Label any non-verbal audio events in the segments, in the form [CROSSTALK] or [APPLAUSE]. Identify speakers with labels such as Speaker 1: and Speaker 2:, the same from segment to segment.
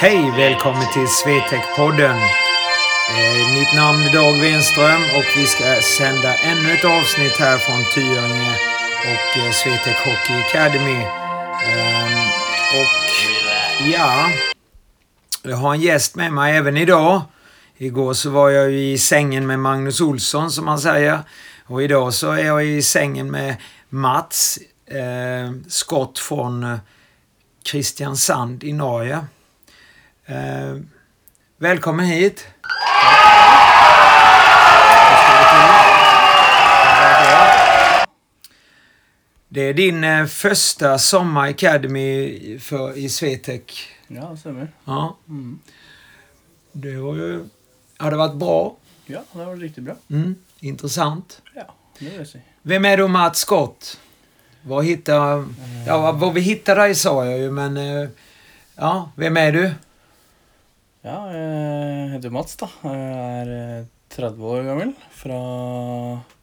Speaker 1: Hej, välkommen till Swetec-podden. Eh, mitt namn är Dag Wenström och vi ska sända ännu ett avsnitt här från Tyringe och eh, Swetec Hockey Academy. Ehm, och ja, jag har en gäst med mig även idag. Igår så var jag ju i sängen med Magnus Olsson som han säger. Och idag så är jag i sängen med Mats eh, Skott från eh, Kristiansand i Norge. Eh, välkommen hit! Det är din eh, första Sommar Academy för, i Swetec.
Speaker 2: Ja, det stämmer.
Speaker 1: Ja.
Speaker 2: Mm.
Speaker 1: Det har ju... Har det varit bra?
Speaker 2: Ja, det var riktigt bra.
Speaker 1: Mm. Intressant.
Speaker 2: Ja, det rör sig.
Speaker 1: Vem är då Mats Scott? Var hittar... Ja, var- var vi hittar dig sa jag ju, men... eh, Ja, vem är du?
Speaker 2: Ja, jeg heter Mats, da. Jeg er eh, 30 år gammel. Fra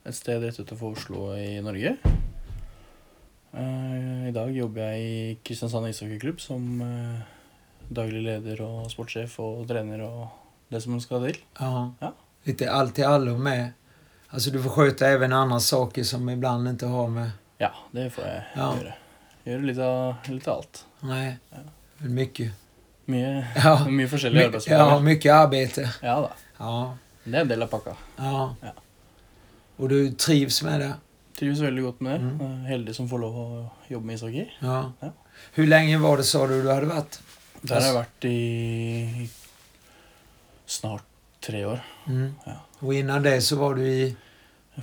Speaker 2: et sted rett utenfor Oslo i Norge. Eh, I dag jobber jeg i Kristiansand ishockeyklubb som eh, daglig leder og sportssjef og trener og det som skal til.
Speaker 1: Ja.
Speaker 2: Ja.
Speaker 1: Lite allt i allo med. Alltså du får sköta även andra saker som ibland inte har med...
Speaker 2: Ja, det får jeg
Speaker 1: Ja.
Speaker 2: gjøre. Gjøre litt av, litt av alt.
Speaker 1: Nej. Men Mycket.
Speaker 2: Mye,
Speaker 1: Ja.
Speaker 2: mye forskjellige
Speaker 1: My, ja,
Speaker 2: arbeidsoppgaver.
Speaker 1: mycket arbete.
Speaker 2: Ja da.
Speaker 1: Ja.
Speaker 2: Det er en del av pakka.
Speaker 1: ja.
Speaker 2: Ja.
Speaker 1: Och du trivs med det?
Speaker 2: Trives veldig godt med det.
Speaker 1: Mm.
Speaker 2: Eh, Heldig som får lov å jobbe med ishockey.
Speaker 1: Ja.
Speaker 2: Ja.
Speaker 1: Hur länge var det sa du du hade varit?
Speaker 2: Der har jeg vært i snart tre år.
Speaker 1: Mm.
Speaker 2: Ja.
Speaker 1: Och innan det så var du i...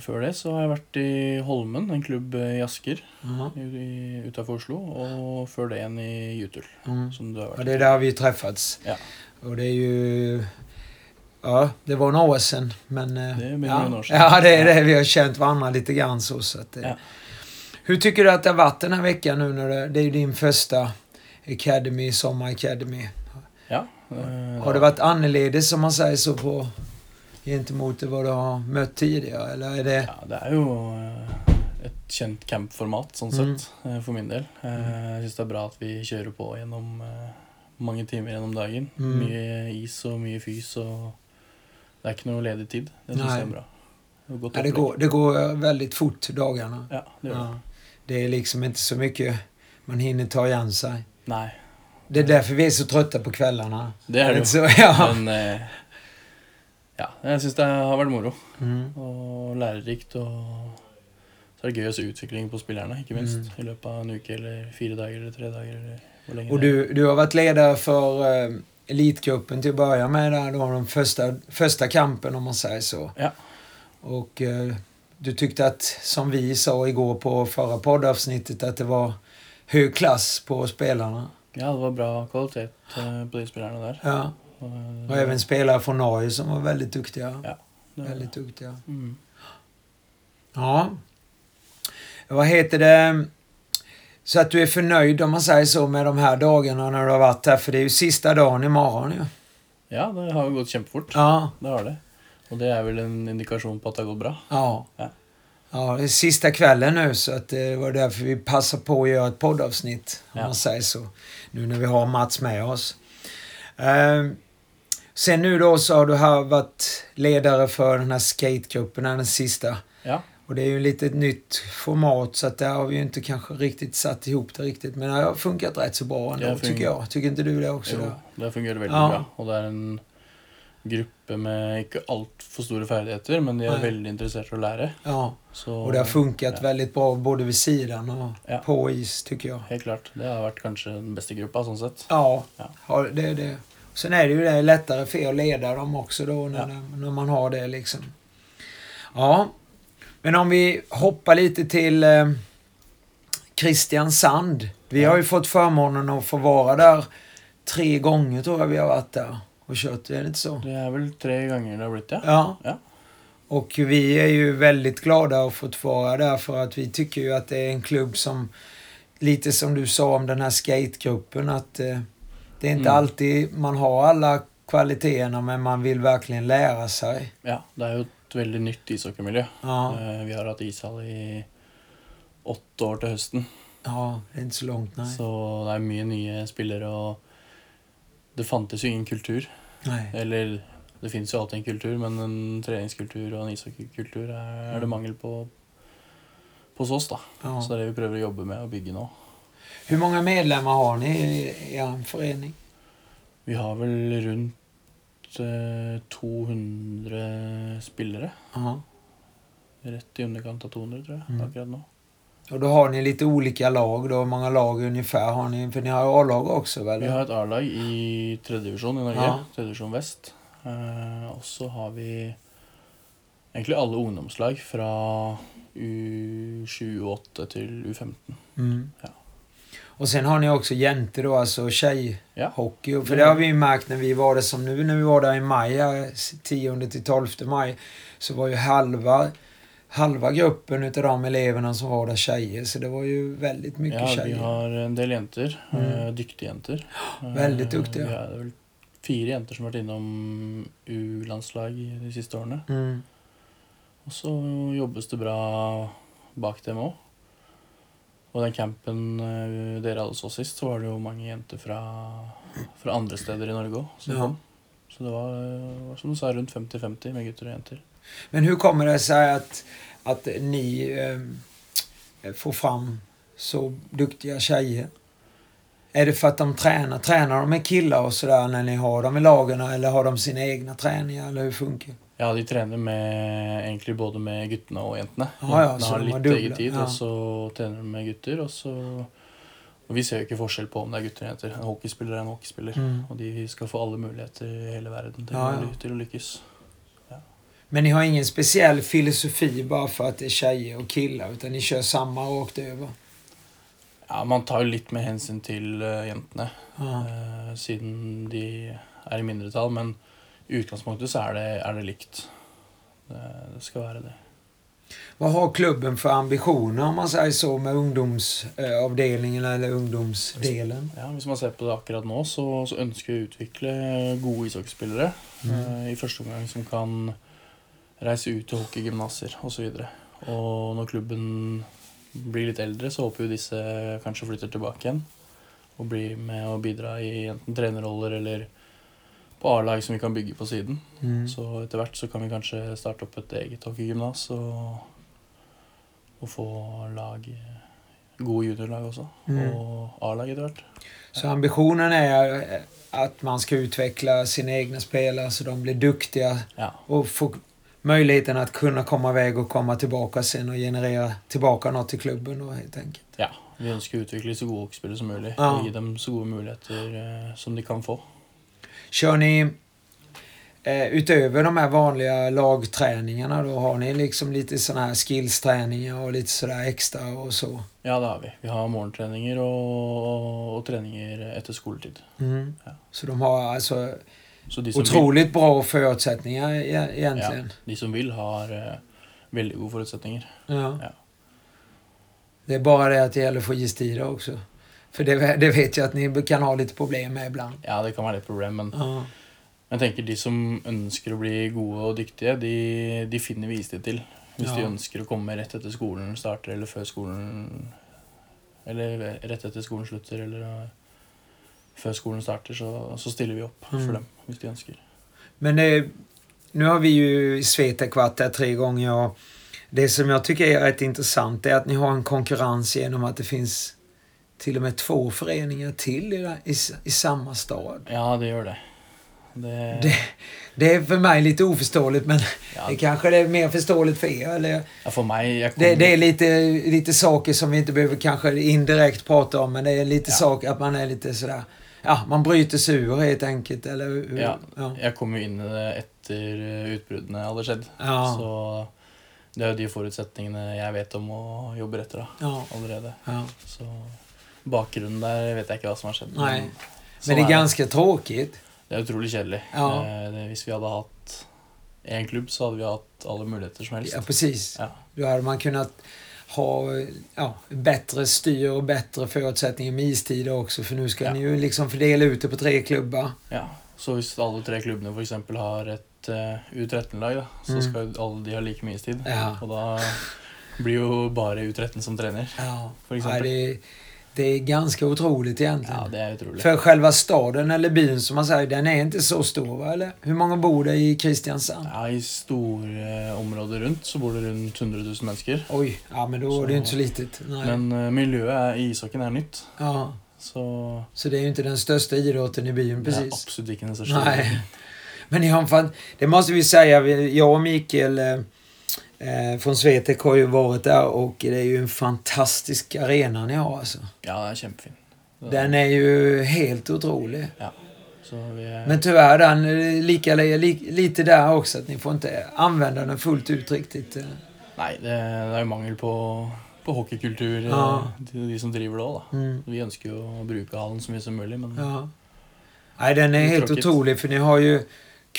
Speaker 2: Før det så har jeg vært i Holmen, en klubb eh, i Asker
Speaker 1: Ja.
Speaker 2: i- utenfor Oslo. Og før det en i Jutul,
Speaker 1: Mm.
Speaker 2: som du har
Speaker 1: Ja,
Speaker 2: vært i.
Speaker 1: det är där vi träffats.
Speaker 2: Ja.
Speaker 1: Och det är ju... Ja, det var några år sedan. Men, eh,
Speaker 2: Det är mer
Speaker 1: ja.
Speaker 2: än några år sedan.
Speaker 1: Ja, det är det. Vi har känt varandra lite grann så. så att, eh.
Speaker 2: Ja.
Speaker 1: Hur tycker du att det har varit den här veckan nu? När det, det är ju din första Academy, Sommar Academy.
Speaker 2: Ja, eh,
Speaker 1: Har det varit annorledes, som man säger så, på gentemot det vad du har mött tidigare? Eller är det...
Speaker 2: Ja, det er jo eh, et kjent campformat, sånn
Speaker 1: Mm.
Speaker 2: sett, eh, for min del. Eh, Jeg syns det er bra at vi kjører på gjennom eh, mange timer gjennom dagen.
Speaker 1: Mm.
Speaker 2: Mye is og mye fys og Det er ikke noe ledig tid. Det syns jeg er
Speaker 1: Nei.
Speaker 2: bra. Det er godt
Speaker 1: Ja, det,
Speaker 2: opplegg.
Speaker 1: går, det går väldigt fort, dagarna.
Speaker 2: Ja, det gjør det.
Speaker 1: Ja. Det är liksom inte så mycket man hinner ta igen sig.
Speaker 2: Nei,
Speaker 1: Det är därför vi är så trötta på kvällarna.
Speaker 2: det er det jo.
Speaker 1: Så, [LAUGHS] ja.
Speaker 2: Men eh, ja, jeg syns det har vært moro
Speaker 1: Mm.
Speaker 2: og lærerikt. Og så er det gøy å se utviklingen på spillerne, ikke minst.
Speaker 1: Mm.
Speaker 2: I løpet av en uke eller fire dager eller tre dager eller hvor lenge
Speaker 1: Och
Speaker 2: det er.
Speaker 1: du, du har varit ledare för eh, elitgruppen till att börja med. Där, då, den första, första kampen om man säger så.
Speaker 2: Ja.
Speaker 1: Och eh, du tyckte att, som vi sa igår på förra poddavsnittet, att det var hög klass på spelarna.
Speaker 2: Ja, det var bra kvalitet eh, på de spillerne der.
Speaker 1: Ja.
Speaker 2: Og, eh,
Speaker 1: Och även spelare från Norge som var väldigt duktiga.
Speaker 2: Ja, det var-
Speaker 1: Väldigt duktiga.
Speaker 2: Mm.
Speaker 1: Ja. Vad heter det? Så att du är förnöjd om man säger så med de här dagarna när du har varit här. För det är ju sista dagen imorgon ju.
Speaker 2: Ja, det har jo gått kjempefort.
Speaker 1: Ja.
Speaker 2: Det har det. Og det er vel en indikasjon på at det har gått bra.
Speaker 1: Ja.
Speaker 2: Ja.
Speaker 1: Ja, det är sista kvällen nu så att det var därför vi passade på att göra ett poddavsnitt. Om
Speaker 2: Ja.
Speaker 1: man säger så. Nu när vi har Mats med oss. Ehm, sen nu då så har du här varit ledare för den här skategruppen, den sista.
Speaker 2: Ja.
Speaker 1: Och det är ju lite ett nytt format så att där har vi ju inte kanske riktigt satt ihop det riktigt. Men det har funkat rätt så bra ändå
Speaker 2: Det har funkat.
Speaker 1: tycker jag. Tycker inte du det också?
Speaker 2: Jo,
Speaker 1: Då?
Speaker 2: det fungerer veldig
Speaker 1: Ja.
Speaker 2: bra. Og det er en gruppe med ikke altfor store ferdigheter, men de er
Speaker 1: Nei.
Speaker 2: veldig interessert i å lære.
Speaker 1: Ja,
Speaker 2: Så
Speaker 1: och det har funkat
Speaker 2: ja.
Speaker 1: väldigt bra både vid sidan och
Speaker 2: Ja.
Speaker 1: på is tycker jag.
Speaker 2: Helt klart. Det har vært kanskje den beste gruppa, sånn sett.
Speaker 1: Ja,
Speaker 2: Ja.
Speaker 1: ja det är det. Sen är det ju det lättare för er att leda dem också då när,
Speaker 2: Ja.
Speaker 1: när man har det liksom. Ja, men om vi hoppar lite till eh, Kristiansand. Vi
Speaker 2: Ja.
Speaker 1: har ju fått förmånen att få vara där tre gånger tror jag vi har varit där och kört. Är det inte så?
Speaker 2: Det er vel tre ganger det har blitt, ja.
Speaker 1: Ja.
Speaker 2: Ja.
Speaker 1: Och vi är ju väldigt glada att få vara där för att vi tycker ju att det är en klubb som, lite som du sa om den här skategruppen, att eh, det är inte
Speaker 2: Mm.
Speaker 1: alltid man har alla kvaliteterna men man vill verkligen lära sig.
Speaker 2: ja. Det er jo et veldig nytt ishockeymiljø.
Speaker 1: Ja,
Speaker 2: Eh, Vi har hatt ishall i åtte år til høsten.
Speaker 1: Ja, det är inte så långt, nej.
Speaker 2: Så det er mye nye spillere, og det fantes jo ingen kultur.
Speaker 1: nej.
Speaker 2: Eller det finnes jo alltid en kultur, men en treningskultur og en ishockeykultur er er det mangel på på hos oss. da.
Speaker 1: Mm. Ja.
Speaker 2: Så det er det vi prøver å jobbe med og bygge nå.
Speaker 1: Hur många medlemmar har ni i er förening?
Speaker 2: Vi har vel rundt eh, 200 spillere.
Speaker 1: Ja.
Speaker 2: Rett i underkant av 200, tror jeg,
Speaker 1: Mm.
Speaker 2: akkurat nå.
Speaker 1: Och då har ni lite olika lag då? Hur många lag ungefär har ni? För ni har ju A-lag också väl?
Speaker 2: Vi har et A-lag i tredjedivisjon i Norge.
Speaker 1: Ja.
Speaker 2: Tredjedivisjon vest. Eh, og så har vi egentlig alle ungdomslag fra U28 til U15.
Speaker 1: Mm.
Speaker 2: Ja.
Speaker 1: Och sen har ni också jäntor då, alltså
Speaker 2: Ja.
Speaker 1: tjejhockey. För det har vi ju märkt när vi var där som nu, när vi var där i maj, här, 10 till 12 maj, så var ju halva, halva gruppen utav de eleverna som var där tjejer. Så det var ju väldigt mycket
Speaker 2: Ja, vi
Speaker 1: tjejer.
Speaker 2: har en del jenter.
Speaker 1: Mm.
Speaker 2: eh,
Speaker 1: [GASPS]
Speaker 2: Dyktige jenter. Eh,
Speaker 1: Veldig dyktige.
Speaker 2: Vi er vel fire jenter som har vært innom U-landslag de siste årene.
Speaker 1: Mm.
Speaker 2: Og så jobbes det bra bak dem òg. Og den campen eh, dere alle så sist, så var det jo mange jenter fra, fra andre steder i Norge òg.
Speaker 1: Ja.
Speaker 2: Så det var, eh, var som du sa, rundt 50-50 med gutter og jenter.
Speaker 1: Men hur kommer det sig att, att ni eh, får fram så duktiga tjejer? Är det för att de tränar? Tränar de med killar och sådär när ni har dem i lagen eller har de sina egna träningar eller hur funkar det?
Speaker 2: Ja, de trener med, egentlig både med guttene og jentene.
Speaker 1: Ah, Ja, ja,
Speaker 2: jentene
Speaker 1: så
Speaker 2: har
Speaker 1: de har
Speaker 2: litt
Speaker 1: dubbla,
Speaker 2: egen tid,
Speaker 1: ja.
Speaker 2: og så trener de med gutter. Og så og Vi ser jo ikke forskjell på om det er gutter og jenter. En hockeyspiller er en hockeyspiller.
Speaker 1: Mm.
Speaker 2: Og de skal få alle muligheter i hele verden til,
Speaker 1: Ja,
Speaker 2: å
Speaker 1: ja.
Speaker 2: ly- til å lykkes.
Speaker 1: Men ni har ingen speciell filosofi bara för att det är tjejer och killar utan ni kör samma rakt över?
Speaker 2: Ja, man tar jo litt med hensyn til eh, jentene,
Speaker 1: Ja.
Speaker 2: eh, siden de er i mindretall. Men i utgangspunktet så er det, er det likt. Det, det skal være det.
Speaker 1: Vad har klubben för ambitioner om man säger så med ungdomsavdelningen eller ungdomsdelen?
Speaker 2: Ja, hvis man ser på det akkurat nå, så, så ønsker vi å utvikle gode ishockeyspillere.
Speaker 1: Mm.
Speaker 2: eh, I første omgang som kan reise ut til hockeygymnaser osv. Og når klubben blir litt eldre, så håper jo disse kanskje flytter tilbake igjen. Og blir med og bidra i enten trenerroller eller på A-lag som vi kan bygge på siden.
Speaker 1: Mm.
Speaker 2: Så etter hvert så kan vi kanskje starte opp et eget hockeygymnas og, og få lag gode juniorlag også.
Speaker 1: Mm.
Speaker 2: Og A-lag etter hvert.
Speaker 1: Så ambitionen är eh, att man ska utveckla sina egna spelare så de blir duktiga
Speaker 2: Ja.
Speaker 1: och få möjligheten att kunna komma iväg och komma tillbaka sen og generera tillbaka något till klubben då helt enkelt.
Speaker 2: ja. Vi ønsker å utvikle så gode hockeyspillere som mulig.
Speaker 1: Ja.
Speaker 2: Gi dem så gode muligheter eh, som de kan få.
Speaker 1: Kör ni eh, utöver de här vanliga lagträningarna då har ni liksom lite sådana här skillsträningar och lite sådär extra og så?
Speaker 2: Ja, det har vi. Vi har morgentreninger og, og treninger etter skoletid.
Speaker 1: Mm.
Speaker 2: Ja.
Speaker 1: Så de har alltså
Speaker 2: Så de som, vil,
Speaker 1: otroligt bra förutsättningar e- egentligen.
Speaker 2: de som vil, har eh, veldig gode forutsetninger.
Speaker 1: Ja.
Speaker 2: Ja.
Speaker 1: Det är bara det att det gäller att få gestira också. För det, det vet jag att ni kan ha lite problem med ibland.
Speaker 2: Ja, det kan være litt problem, men
Speaker 1: Ja.
Speaker 2: jeg tenker de som ønsker å bli gode og dyktige, de, de finner vi istid til. Hvis de
Speaker 1: Ja.
Speaker 2: ønsker å komme rett etter skolen starter, eller før skolen Eller rett etter skolen slutter, eller eh, før skolen starter, så, så stiller vi opp
Speaker 1: Mm.
Speaker 2: for dem hvis de ønsker.
Speaker 1: Men det, nu har vi ju i Svetekvatt där tre gånger och det som jag tycker är rätt intressant är att ni har en konkurrens genom att det finns till och med två föreningar till i, i, i samma stad.
Speaker 2: Ja, det gjør det. Det,
Speaker 1: Det, det är för mig lite oförståeligt men
Speaker 2: ja,
Speaker 1: det kanske er mer förståeligt för er. Eller?
Speaker 2: ja, for meg jeg
Speaker 1: Det,
Speaker 2: kommer-
Speaker 1: det är lite, lite saker som vi inte behöver kanske indirekt prata om, men det är lite
Speaker 2: Ja.
Speaker 1: saker att man är lite sådär... Ja, man bryter sig ur helt enkelt, eller hur?
Speaker 2: Ja.
Speaker 1: Ja.
Speaker 2: Jeg kom jo inn i det etter eh, utbruddene hadde skjedd.
Speaker 1: Ja.
Speaker 2: Så det er jo de forutsetningene jeg vet om og jobber etter da,
Speaker 1: ja,
Speaker 2: allerede.
Speaker 1: ja.
Speaker 2: Så bakgrunnen der vet jeg ikke hva som har skjedd.
Speaker 1: Nei.
Speaker 2: men
Speaker 1: Men
Speaker 2: sånn
Speaker 1: det
Speaker 2: er
Speaker 1: är ganska tråkigt.
Speaker 2: det er utrolig kjedelig.
Speaker 1: Ja.
Speaker 2: Eh, det- Hvis vi hadde hatt én klubb, så hadde vi hatt alle muligheter som helst.
Speaker 1: Ja, precis.
Speaker 2: Ja.
Speaker 1: Då hade man kunnat ha ja, bättre styr och bättre förutsättningar med istider också, för nu ska
Speaker 2: Ja.
Speaker 1: ni ju liksom fördela ut det på tre klubbar.
Speaker 2: Ja. Så hvis alle tre klubbene for eksempel har et eh, U13-lag, da, så
Speaker 1: Mm.
Speaker 2: skal jo alle de ha like mye istid.
Speaker 1: Ja.
Speaker 2: Og da Blir jo bare U13 som trener.
Speaker 1: Ja.
Speaker 2: For
Speaker 1: Nej,
Speaker 2: eksempel.
Speaker 1: det, det är ganska otroligt egentligen.
Speaker 2: Ja, det er utrolig.
Speaker 1: För själva staden eller byn som man säger, den är inte så stor va? Eller? Hur många bor det i Kristiansand?
Speaker 2: Ja, I store eh, områder rundt så bor det rundt 100 000 mennesker.
Speaker 1: Oj, ja men då är det ju inte så litet. Nej.
Speaker 2: Men eh, miljøet er- i ishockeyen er nytt,
Speaker 1: ja.
Speaker 2: så
Speaker 1: Så det är ju inte den största idrotten i byen
Speaker 2: det er
Speaker 1: precis.
Speaker 2: absolutt ikke den største.
Speaker 1: Nej. Men ni har en fan... det måste vi säga, vi- jag och Mikael eh, eh, från Svetek har ju varit där och det är ju en fantastisk arena ni har alltså.
Speaker 2: Ja, den er kjempefin.
Speaker 1: Den är ju helt otrolig.
Speaker 2: Så vi er,
Speaker 1: Men tyvärr den är lika, li, lite där också att ni får inte använda den fullt ut riktigt. eh.
Speaker 2: Nei, det, det er jo mangel på, på hockeykultur, eh,
Speaker 1: Ja.
Speaker 2: de, de som driver det òg, da.
Speaker 1: Mm.
Speaker 2: Vi ønsker jo å bruke hallen så mye som mulig, men
Speaker 1: Ja. Nej, den är
Speaker 2: Mm. Det är
Speaker 1: helt
Speaker 2: tråkigt.
Speaker 1: otrolig för ni har ju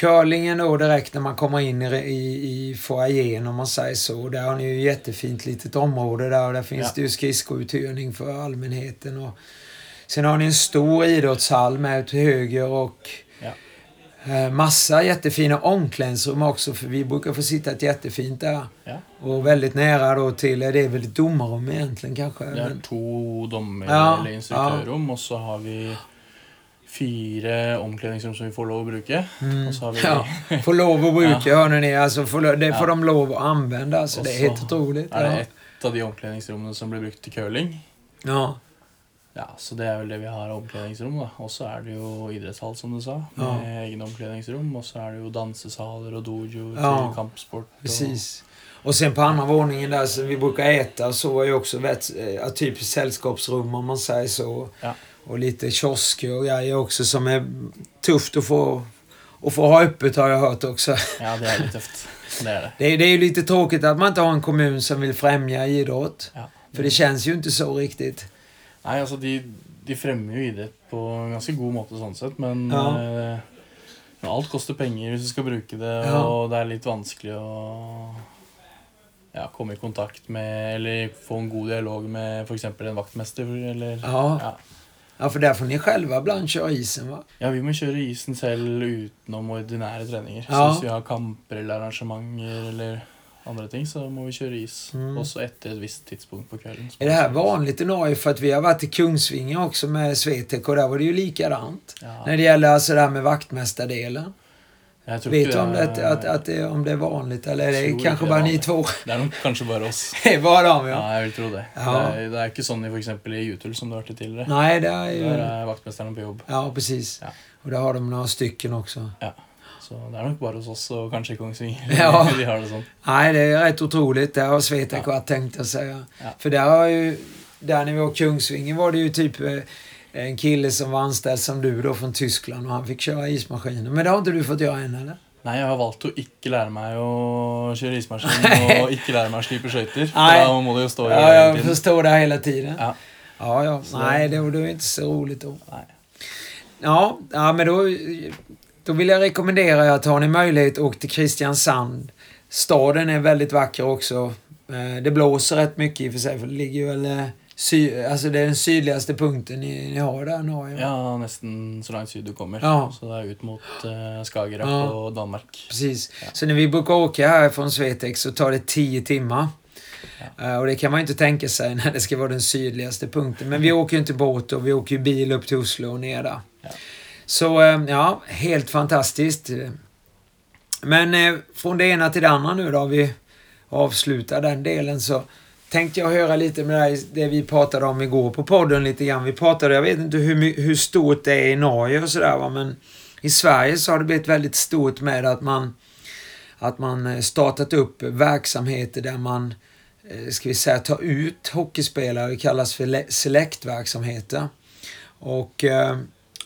Speaker 1: curlingen då direkt när man kommer in i, i, i foajén om man säger så. Där har ni ju ett jättefint litet område där och där finns
Speaker 2: Ja.
Speaker 1: det ju skridskouthyrning för allmänheten. Och sen har ni en stor idrottshall med till höger och eh, massa jättefina omklädningsrum också för vi brukar få sitta ett jättefint där.
Speaker 2: ja.
Speaker 1: Och väldigt nära då till, det är väl ett domarrum egentligen kanske?
Speaker 2: Det er
Speaker 1: men-
Speaker 2: to dommer-
Speaker 1: Ja,
Speaker 2: eller instruktørrom, og så har vi fire omklädningsrum som vi får lov å bruke. Og så har vi
Speaker 1: Mm. Ja, får lov att bruka hörni ni. Alltså får lo- det får
Speaker 2: Ja.
Speaker 1: de lov att använda. Alltså,
Speaker 2: Och
Speaker 1: det är
Speaker 2: så
Speaker 1: helt otroligt.
Speaker 2: er det
Speaker 1: Ja.
Speaker 2: ett av de omklädningsrommene som blir brukt til curling.
Speaker 1: Ja.
Speaker 2: Ja, Så det er vel det vi har av omklädningsrom. da. Og så er det jo idrettshall, som du sa, med
Speaker 1: Ja.
Speaker 2: egne omklädningsrom. Og så er det jo dansesaler og dojoer
Speaker 1: Ja,
Speaker 2: til kampsport. Og,
Speaker 1: Precis. Och sen på andra våningen där som vi brukar äta så var ju också vet, eh, typiskt sällskapsrum om man säger så.
Speaker 2: Ja.
Speaker 1: Och lite kiosker och grejer också som är tufft att få, att få ha öppet har jag hört också. [LAUGHS]
Speaker 2: Ja, det er litt tøft. Det er det.
Speaker 1: Det är, det är ju lite tråkigt att man inte har en kommun som vill främja idrott.
Speaker 2: Ja.
Speaker 1: För det känns ju inte så riktigt.
Speaker 2: Nei, altså, alltså, de, de fremmer jo idrett på en ganske god måte sånn sett, men
Speaker 1: Ja.
Speaker 2: eh, men alt koster penger hvis du skal bruke det,
Speaker 1: Ja.
Speaker 2: og det er litt vanskelig å ja, komme i kontakt med eller få en god dialog med f.eks. en vaktmester. Eller,
Speaker 1: Ja.
Speaker 2: Ja.
Speaker 1: ja, för där får ni själva ibland köra isen va?
Speaker 2: ja, vi må kjøre isen selv utenom ordinære treninger. Så
Speaker 1: Ja.
Speaker 2: hvis vi har kamper eller arrangementer eller andre ting, så må vi kjøre is.
Speaker 1: Mm.
Speaker 2: Også etter et visst tidspunkt på kvelden.
Speaker 1: Är det här vanligt i Norge? För att vi har varit i Kungsvinga också med Svetek och där var det ju likadant.
Speaker 2: Ja.
Speaker 1: När det gäller alltså det här med vaktmästardelen.
Speaker 2: Jeg tror ikke
Speaker 1: Vet du om det, att, att, att det, om det är vanligt eller är det
Speaker 2: Tror
Speaker 1: kanske
Speaker 2: inte
Speaker 1: bara
Speaker 2: det
Speaker 1: ni
Speaker 2: är
Speaker 1: två? [LAUGHS]
Speaker 2: det er nok kanskje bare oss.
Speaker 1: Det är bara de
Speaker 2: Ja,
Speaker 1: ja.
Speaker 2: jeg vil tro det.
Speaker 1: Ja.
Speaker 2: Det, er, det er ikke sånn i for eksempel i Jutul, som du har vært i tidligere.
Speaker 1: Nej, det är
Speaker 2: Der
Speaker 1: ju...
Speaker 2: er vaktmesterne på jobb.
Speaker 1: Ja, precis.
Speaker 2: Ja.
Speaker 1: Och där har de några stycken också.
Speaker 2: Så det er nok bare hos oss og kanskje i
Speaker 1: [LAUGHS]
Speaker 2: Kongsvinger. [LAUGHS]
Speaker 1: Ja.
Speaker 2: De har det sånn.
Speaker 1: Nej, det är rätt otroligt. Det har Svetek varit tänkt att säga.
Speaker 2: Ja.
Speaker 1: För där har ju... Där när vi var i Kungsvingen var det ju typ eh, en kille som var anställd som du då från Tyskland och han fick köra ismaskiner. Men det har inte du fått göra än eller?
Speaker 2: Nei, jeg har valgt å ikke lære meg å kjøre ismaskin og ikke lære meg å slipe skøyter. for
Speaker 1: Nei.
Speaker 2: Da må du jo stå i
Speaker 1: Ja,
Speaker 2: hele
Speaker 1: jag
Speaker 2: tiden.
Speaker 1: förstår det här hela tiden.
Speaker 2: Ja.
Speaker 1: Ja, ja.
Speaker 2: Så-
Speaker 1: Nej, det, det är inte så roligt då.
Speaker 2: Nei.
Speaker 1: Ja, ja men då, då vill jag rekommendera er att har ni möjlighet, åk till Kristiansand. Staden är väldigt vacker också. Eh, Det blåser rätt mycket i och för sig, för det ligger ju väl... eh, Sy, alltså det är den sydligaste punkten ni, ni har där, Norge.
Speaker 2: Ja, nesten så langt syd du kommer.
Speaker 1: Ja.
Speaker 2: Så det er ut mot eh, Skagerrak
Speaker 1: Ja.
Speaker 2: og Danmark.
Speaker 1: Precis. Så när vi brukar åka här från Svetek så tar det 10 timmar. Eh, Och det kan man ju inte tänka sig [LAUGHS] när det ska vara den sydligaste punkten. Men vi åker ju inte båt och vi åker ju bil upp till Oslo och ner där.
Speaker 2: Ja.
Speaker 1: Så eh, ja, helt fantastiskt. Men eh, från det ena till det andra nu då, vi avslutar den delen så tänkte jag höra lite med dig, det vi pratade om igår på podden lite grann. Vi pratade, jag vet inte hur, my- hur stort det är i Norge och sådär va, men i Sverige så har det blivit väldigt stort med att man, att man eh, startat upp verksamheter där man, eh, ska vi säga, tar ut hockeyspelare. Det kallas för le- selektverksamheter. Och eh,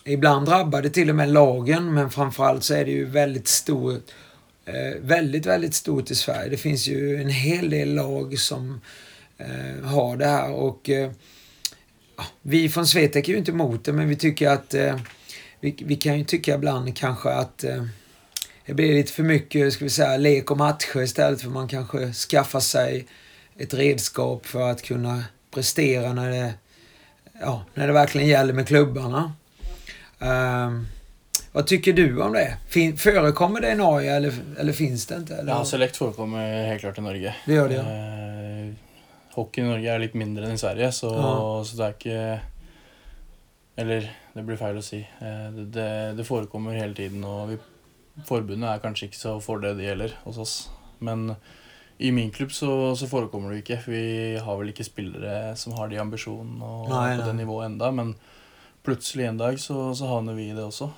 Speaker 1: ibland drabbar det till och med lagen, men framförallt så är det ju väldigt stort eh, väldigt, väldigt stort i Sverige. Det finns ju en hel del lag som eh, har det här och eh, ja, vi från Svetek är ju inte emot det men vi tycker att eh, vi, vi kan ju tycka ibland kanske att eh, det blir lite för mycket, ska vi säga, lek och matcher istället för man kanske skaffar sig ett redskap för att kunna prestera när det, ja, när det verkligen gäller med klubbarna. Ehm, vad tycker du om det? Fin- förekommer det i Norge eller, eller finns det inte? Eller?
Speaker 2: Ja, Select forekommer helt klart i Norge.
Speaker 1: Det gör det, ja.
Speaker 2: Eh, hockey i Norge er litt mindre enn i Sverige, så,
Speaker 1: Ja.
Speaker 2: så det er ikke Eller det blir feil å si. Eh, Det, det, det forekommer hele tiden, og vi, forbundet er kanskje ikke så for det det gjelder hos oss. Men i min klubb så, så forekommer det jo ikke. for Vi har vel ikke spillere som har de ambisjonene og
Speaker 1: Nei,
Speaker 2: på det
Speaker 1: nei.
Speaker 2: nivået enda, men plutselig en dag så, så havner vi i det også.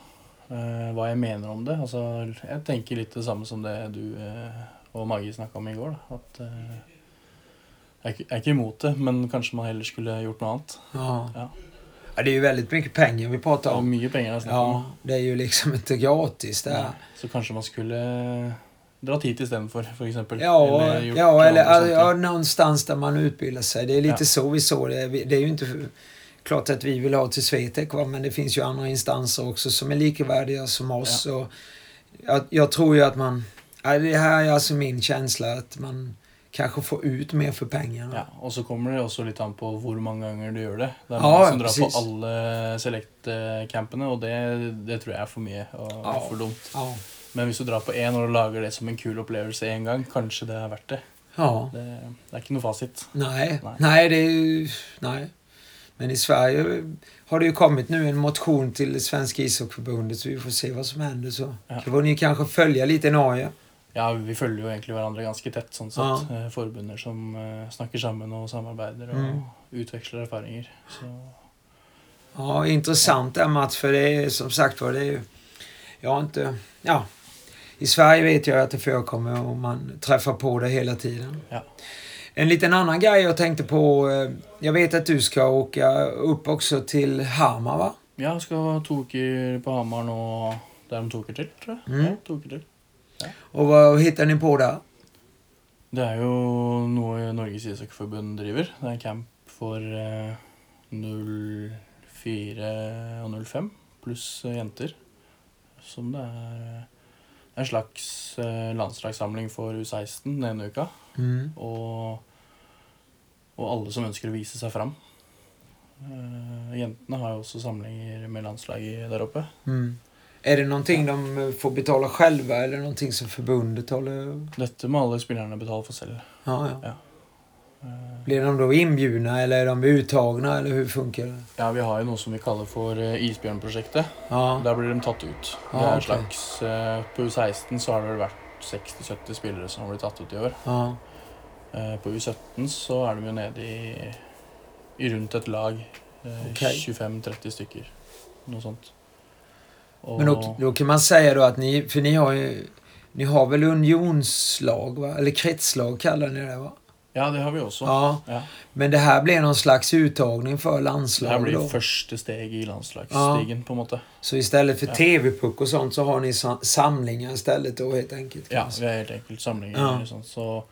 Speaker 2: Eh, hva jeg mener om det. Altså, jeg tenker litt det samme som det du eh, og Maggie snakka om i går. Da. At, eh, jeg er ikke- jeg er ikke imot det, men kanskje man heller skulle gjort noe annet.
Speaker 1: Ja.
Speaker 2: Ja.
Speaker 1: Ja, det är ju väldigt mycket pengar vi pratar
Speaker 2: Det er
Speaker 1: om.
Speaker 2: mye penger det er snakk om.
Speaker 1: Ja, det är ju liksom inte gratis det här.
Speaker 2: Nei. Så kanske man skulle dratt hit istedenfor, f.eks.
Speaker 1: Ja,
Speaker 2: gjort
Speaker 1: ja, eller
Speaker 2: noe annet
Speaker 1: ja,
Speaker 2: samtidig.
Speaker 1: någonstans där man utbildar sig. Det är lite
Speaker 2: Ja.
Speaker 1: så vi såg det. Vi- Det är ju inte klart att vi vill ha till Svetek, va? men det finns ju andra instanser också som är likvärdiga som oss. Och jag, jag tror ju att man... Ja, det här är alltså min känsla, att man kanske får ut mer för pengarna.
Speaker 2: ja, Og så kommer det også litt an på hvor mange ganger du gjør det. Det er
Speaker 1: Ja,
Speaker 2: mange
Speaker 1: ja,
Speaker 2: som drar
Speaker 1: precis.
Speaker 2: på alle select-campene, og det, det tror jeg er for mye og
Speaker 1: Ja.
Speaker 2: for dumt.
Speaker 1: Ja.
Speaker 2: Men hvis du drar på én og du lager det som en kul opplevelse én gang, kanskje det er verdt det.
Speaker 1: ja.
Speaker 2: Det, det er ikke noe fasit.
Speaker 1: Nej.
Speaker 2: Nej.
Speaker 1: nej, det är ju... Nej. Men i Sverige har det ju kommit nu en motion till Svenska ishockeyförbundet så vi får se vad som händer. Så
Speaker 2: Ja.
Speaker 1: får ni kanske följa lite i Norge.
Speaker 2: Ja, vi følger jo egentlig hverandre ganske tett, sånn sett.
Speaker 1: Ja.
Speaker 2: Eh, Forbunder som eh, snakker sammen og samarbeider og
Speaker 1: Mm.
Speaker 2: utveksler erfaringer. Så
Speaker 1: Ja, intressant det här Mats, för det är som sagt var, det är ju... Jag har inte... Ja. I Sverige vet jag att det förekommer och man träffar på det hela tiden.
Speaker 2: Ja.
Speaker 1: En liten annan grej jag tänkte på. eh, Jag vet att du ska åka upp også til Hamar, va?
Speaker 2: ja, skal ha to uker på Hamar nå. Det er om to uker til, tror jeg.
Speaker 1: Mm.
Speaker 2: Ja, to uker til.
Speaker 1: Och vad hittar ni på där?
Speaker 2: Det er jo noe Norges ishockeyforbund driver. Det er en camp for eh, 04 og 05 pluss eh, jenter. Som det er eh, en slags eh, landslagssamling for U16 den ene uka.
Speaker 1: Mm.
Speaker 2: og, og alle som ønsker å vise seg fram. Eh, jentene har jo også samlinger med landslaget der oppe.
Speaker 1: Mm. Är det någonting de eh, får betala själva eller någonting som förbundet håller...
Speaker 2: Dette må alle spillerne betale for selv.
Speaker 1: Ja, ja.
Speaker 2: Ja. Eh,
Speaker 1: Blir de då inbjudna eller är de uttagna eller hur funkar det?
Speaker 2: ja, Vi har jo noe som vi kaller for eh, Isbjørnprosjektet.
Speaker 1: Ja,
Speaker 2: Der blir de tatt ut. Det
Speaker 1: Ah,
Speaker 2: er
Speaker 1: ok.
Speaker 2: en slags, eh, på U16 så har det vel vært 60-70 spillere som har blitt tatt ut i år.
Speaker 1: ja,
Speaker 2: Eh, på U17 så er de jo nede i, i rundt et lag. eh,
Speaker 1: Ok.
Speaker 2: 25-30 stykker. Noe sånt. Og-
Speaker 1: Men då, då kan man säga då att ni, för ni har ju, ni har väl unionslag va? Eller kretslag kallar ni det va?
Speaker 2: Ja, det har vi også.
Speaker 1: Ja,
Speaker 2: Ja.
Speaker 1: men det här blir någon slags uttagning för
Speaker 2: Det her
Speaker 1: landslag
Speaker 2: blir
Speaker 1: då.
Speaker 2: første steg i landslagsstigen, på en måte.
Speaker 1: Så istället för
Speaker 2: Ja.
Speaker 1: TV-puck och sånt så har ni sa- samlingar istället då helt enkelt. kan
Speaker 2: Ja,
Speaker 1: man
Speaker 2: vi
Speaker 1: säga.
Speaker 2: er helt enkelt samlinger.
Speaker 1: Ja.
Speaker 2: eller sånn, Så,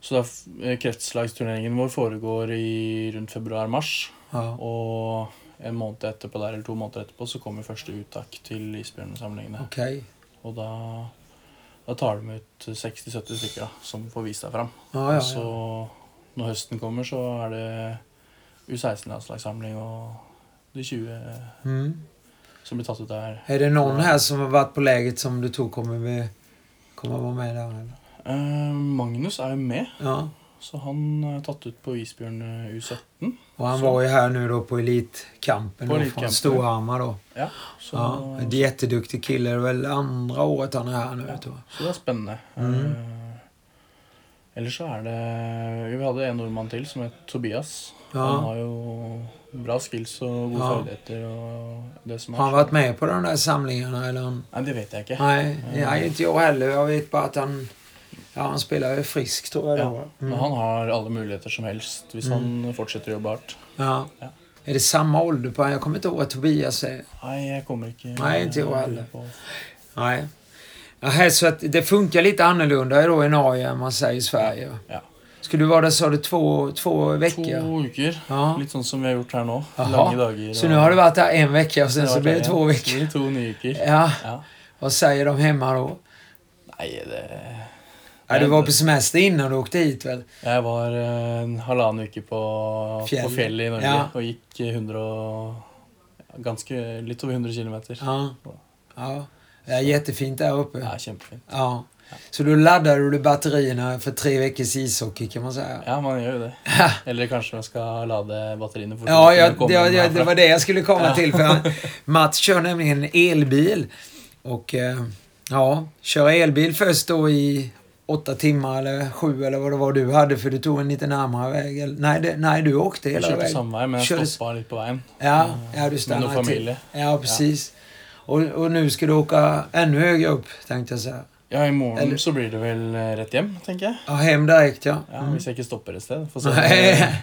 Speaker 2: så da, f- eh, kretslagsturneringen vår foregår i rundt februar-mars.
Speaker 1: ja.
Speaker 2: Og en måned etterpå der, eller to måneder etterpå så kommer første uttak til Isbjørnsamlingene.
Speaker 1: Okej.
Speaker 2: Og da, da tar de ut 60-70 stykker da, som får vist seg fram.
Speaker 1: Ja, ja,
Speaker 2: Og Så
Speaker 1: ja.
Speaker 2: når høsten kommer, så er det U16-landslagssamling og de 20
Speaker 1: Mm.
Speaker 2: som blir tatt ut der.
Speaker 1: Är det någon här som har varit på läget som du tror kommer, vi, kommer vara med där? Eller?
Speaker 2: Eh, Magnus er jo med,
Speaker 1: Ja.
Speaker 2: så han er tatt ut på Isbjørn eh, U17.
Speaker 1: Och han
Speaker 2: Så.
Speaker 1: var ju här nu då på Elitkampen
Speaker 2: På
Speaker 1: då,
Speaker 2: Elitkampen.
Speaker 1: från Storhammar då.
Speaker 2: Så,
Speaker 1: Ja, en jätteduktig kille. Det är väl andra året han är här nu. Tror jag.
Speaker 2: så det er spennende.
Speaker 1: Mm.
Speaker 2: Eh, ellers så er det Vi hadde en nordmann til som het Tobias. Han
Speaker 1: Ja.
Speaker 2: har jo bra skills og gode
Speaker 1: Ja.
Speaker 2: ferdigheter og det som
Speaker 1: Har han varit med på de där samlingarna? Eller han...
Speaker 2: Nei, det vet jeg ikke.
Speaker 1: Nej, nej, inte jag heller. Jag vet bara att han, ja, han spelar ju frisk tror jag.
Speaker 2: Ja,
Speaker 1: Då.
Speaker 2: Men
Speaker 1: Mm.
Speaker 2: han har alle muligheter som helst hvis han fortsetter å jobbe hardt.
Speaker 1: Ja.
Speaker 2: Ja.
Speaker 1: Är det samma ålder på honom? Jag kommer inte ihåg vad Tobias är.
Speaker 2: Nei, jeg kommer ikke
Speaker 1: Nei, ikke jeg heller.
Speaker 2: på-
Speaker 1: Nej. Nähä, så att det funkar lite annorlunda då i Norge än man säger i Sverige.
Speaker 2: Ja.
Speaker 1: Skulle du vara där sa du två, två veckor?
Speaker 2: To uker.
Speaker 1: Ja.
Speaker 2: Litt sånn som vi har gjort her nå.
Speaker 1: Jaha.
Speaker 2: Lange dager.
Speaker 1: Så nu har du varit där en vecka och sen så blir det två
Speaker 2: Så
Speaker 1: veckor.
Speaker 2: blir det to nye uker.
Speaker 1: Ja,
Speaker 2: Ja.
Speaker 1: vad säger de hemma då?
Speaker 2: Nei, det
Speaker 1: Ja, du var på semester innan du åkte hit väl?
Speaker 2: Jeg var eh, en halvannen uke på
Speaker 1: Fjell.
Speaker 2: på fjellet i Norge
Speaker 1: Ja.
Speaker 2: og gikk 100 og ganske, litt over 100 km.
Speaker 1: Ja. ja. Det är jättefint där uppe.
Speaker 2: Det er kjempefint.
Speaker 1: Ja. Så då laddade du batterierna för tre veckors ishockey kan man säga.
Speaker 2: Ja, man gör ju det. Eller kanske man ska lada batteriene fort.
Speaker 1: Ja, jag,
Speaker 2: Det kommer
Speaker 1: det, det,
Speaker 2: härifrån.
Speaker 1: det var det jag skulle komma
Speaker 2: Ja.
Speaker 1: till. För han- Mats kör nämligen elbil. Och eh, ja, köra elbil först då i åtta timmar eller sju eller vad det var du hade för du tog en lite närmare väg. eller- Nej, det, nej du åkte
Speaker 2: Jag
Speaker 1: hela
Speaker 2: kjørte
Speaker 1: vägen.
Speaker 2: samme vei, men
Speaker 1: Kjørte-
Speaker 2: jeg stoppa litt på veien.
Speaker 1: Ja, ja, du
Speaker 2: Med noen
Speaker 1: stannade till.
Speaker 2: familie.
Speaker 1: Ja, precis. Och, och nu ska du åka ännu högre upp tänkte jag säga.
Speaker 2: Ja, i morgen
Speaker 1: Eller-
Speaker 2: så blir det vel eh, rett hjem, tenker jeg.
Speaker 1: Ja, hem direkt ja.
Speaker 2: Ja,
Speaker 1: Mm.
Speaker 2: Hvis jeg ikke stopper et sted. Får se,
Speaker 1: Nej.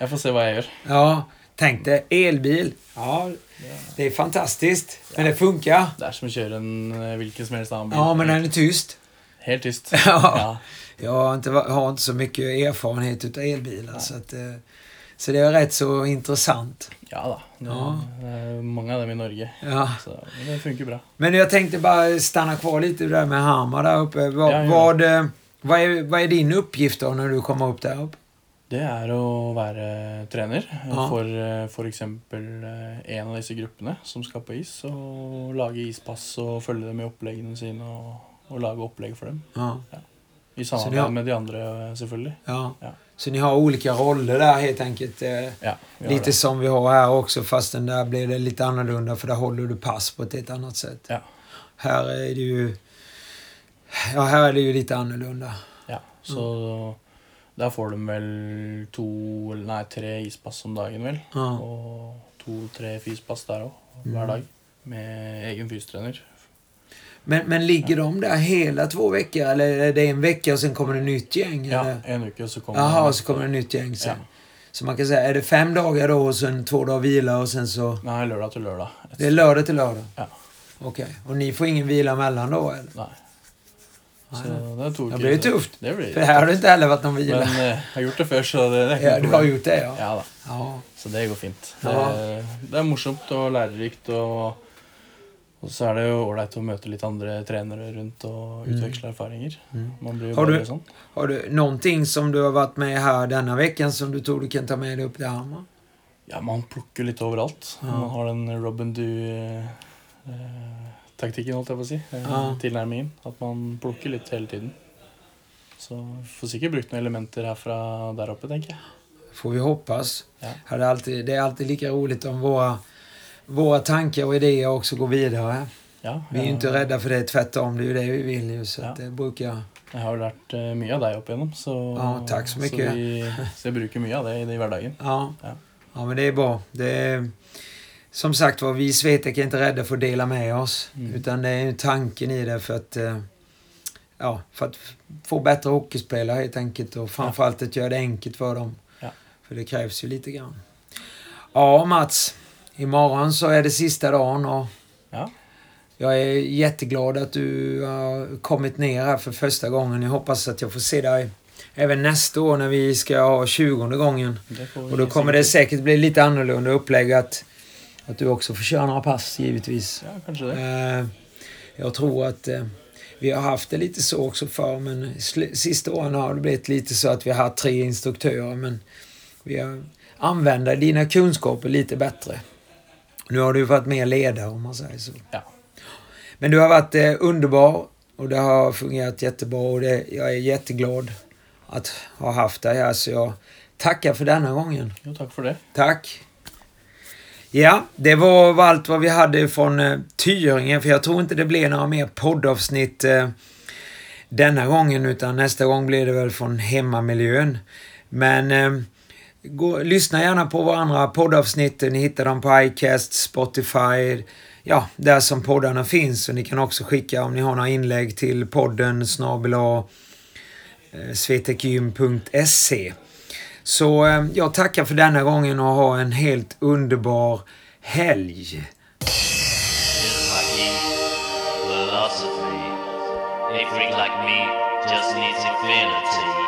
Speaker 2: jeg får se hva jeg gjør.
Speaker 1: [LAUGHS] Ja, tänk dig elbil. Ja, det är fantastiskt. Men det funkar.
Speaker 2: Det er som å kjøre en eh, hvilken som helst annen bil.
Speaker 1: Ja, men den är tyst.
Speaker 2: Helt tyst.
Speaker 1: Ja.
Speaker 2: Ja.
Speaker 1: Jag har inte, va- har inte så mycket erfarenhet utav elbilar. Så, att, eh, så det är rätt så intressant.
Speaker 2: ja da. Det
Speaker 1: Ja.
Speaker 2: det er mange av dem i Norge.
Speaker 1: Ja.
Speaker 2: Så men det funker bra.
Speaker 1: Men jag tänkte bara stanna kvar lite där med Hamar där uppe. Vad,
Speaker 2: Ja, ja.
Speaker 1: Vad, eh, vad, är, vad är din uppgift då när du kommer upp där uppe?
Speaker 2: Det er å være trener
Speaker 1: Ja.
Speaker 2: for f.eks. en av disse gruppene som skal på is, og lage ispass og følge dem i oppleggene sine og, og lage opplegg for dem.
Speaker 1: Ja.
Speaker 2: I
Speaker 1: Så det er-
Speaker 2: samarbeid med de andre, eh, selvfølgelig.
Speaker 1: Ja.
Speaker 2: Ja.
Speaker 1: Så ni har olika roller där helt enkelt. eh,
Speaker 2: Ja, vi har
Speaker 1: Lite
Speaker 2: det.
Speaker 1: som vi har här också fast den där blir det lite annorlunda för där håller du pass på ett helt annat sätt.
Speaker 2: Ja.
Speaker 1: Här är det ju... Ja, här är det ju lite annorlunda.
Speaker 2: Ja, så
Speaker 1: Mm.
Speaker 2: der får de vel to, eller nei, tre ispass om dagen, vel.
Speaker 1: Ja. Mm.
Speaker 2: Og to-tre fyspass der òg, hver dag. Med egen fystrener.
Speaker 1: Men, men ligger de där hela två veckor eller är det en vecka och sen kommer det nytt gäng?
Speaker 2: Ja,
Speaker 1: eller?
Speaker 2: en uke, og så kommer
Speaker 1: Jaha, så kommer det nytt gäng sen.
Speaker 2: Ja.
Speaker 1: Så man kan säga, är det fem dagar då og sen två dagar vila och sen så...
Speaker 2: Nei, lørdag til lørdag. Et-
Speaker 1: Det är lördag till lördag?
Speaker 2: Ja.
Speaker 1: Okej. Och ni får ingen vila mellan då eller?
Speaker 2: Nei.
Speaker 1: Nei,
Speaker 2: Så det er to
Speaker 1: Det
Speaker 2: uker.
Speaker 1: blir ju tufft.
Speaker 2: Det blir
Speaker 1: För här har det inte heller varit någon
Speaker 2: Men
Speaker 1: vila.
Speaker 2: eh, jeg har gjort det før, så det, det er ikke
Speaker 1: Ja,
Speaker 2: noe
Speaker 1: du har
Speaker 2: problem.
Speaker 1: gjort det ja.
Speaker 2: Ja da,
Speaker 1: Ja.
Speaker 2: så det går fint. Det,
Speaker 1: Ja.
Speaker 2: det er morsomt og lærerikt, og, og så er det jo ålreit å møte litt andre trenere rundt og utveksle erfaringer.
Speaker 1: Mm.
Speaker 2: Man blir jo
Speaker 1: Har du-
Speaker 2: bare sånn.
Speaker 1: Har du någonting som du har varit med här denna veckan som du tror du kan ta med dig upp till Hammar?
Speaker 2: Ja, man plukker litt overalt.
Speaker 1: Ja.
Speaker 2: Man har den Robin eh, Du-taktikken, holdt jeg på å si. eh,
Speaker 1: Ja.
Speaker 2: Tilnærmingen. At man plukker litt hele tiden. Så får sikkert brukt noen elementer herfra der oppe, tenker jeg.
Speaker 1: Får vi hoppas.
Speaker 2: Ja.
Speaker 1: Här är det alltid, det är alltid lika roligt om våra, våra tankar och idéer också går vidare.
Speaker 2: Ja,
Speaker 1: Vi är ju
Speaker 2: jeg-
Speaker 1: inte rädda för det, tvärtom. Det är ju det vi vill ju. Så
Speaker 2: Ja.
Speaker 1: att det brukar...
Speaker 2: Jeg har lært eh, mye av deg opp igjennom, så,
Speaker 1: Ja, takk så mye.
Speaker 2: så, vi, så jeg bruker mye av det i det i hverdagen.
Speaker 1: Ja.
Speaker 2: Ja.
Speaker 1: ja, men det är bra. Det är, som sagt var, vi i Svetek är inte rädda för att dela med oss.
Speaker 2: Mm.
Speaker 1: Utan det är ju tanken i det för att, eh, ja, för att få bättre hockeyspelare helt enkelt. Och framförallt att göra det enkelt för dem.
Speaker 2: Ja.
Speaker 1: För det krävs ju lite grann. Ja, Mats. Imorgon så är det sista dagen och
Speaker 2: Ja.
Speaker 1: jag är jätteglad att du har kommit ner här för första gången. Jag hoppas att jag får se dig även nästa år när vi ska ha 20 gången.
Speaker 2: Det får vi
Speaker 1: Och då kommer det
Speaker 2: sikkert-
Speaker 1: säkert bli lite annorlunda upplägg att, att du också får köra några pass givetvis.
Speaker 2: Ja, kanskje det.
Speaker 1: Eh, jag tror att eh, vi har haft det lite så också förr men sl- sista åren har det blivit lite så att vi har haft tre instruktörer men vi har- använder dina kunskaper lite bättre. Nu har du varit mer ledare om man säger så.
Speaker 2: Ja.
Speaker 1: Men du har varit eh, underbar och det har fungerat jättebra och det, jag är jätteglad att ha haft dig här så jag tackar för denna gången.
Speaker 2: Jo, takk for det.
Speaker 1: Tack. Ja, det var var allt vad vi hade från eh, Tyringen, för jag tror inte det blir några mer poddavsnitt eh, denna gången, utan nästa gång blir det väl från hemmamiljön. Men eh, gå, lyssna gärna på våra andra poddavsnitt. Ni hittar dem på iCast, Spotify, ja, där som poddarna finns. Och ni kan också skicka om ni har några inlägg till podden eh, snabel svetekgym.se. Så eh, jag tackar för denna gången och ha en helt underbar helg.
Speaker 3: is my key. Philosophy. A freak like me just needs infinity.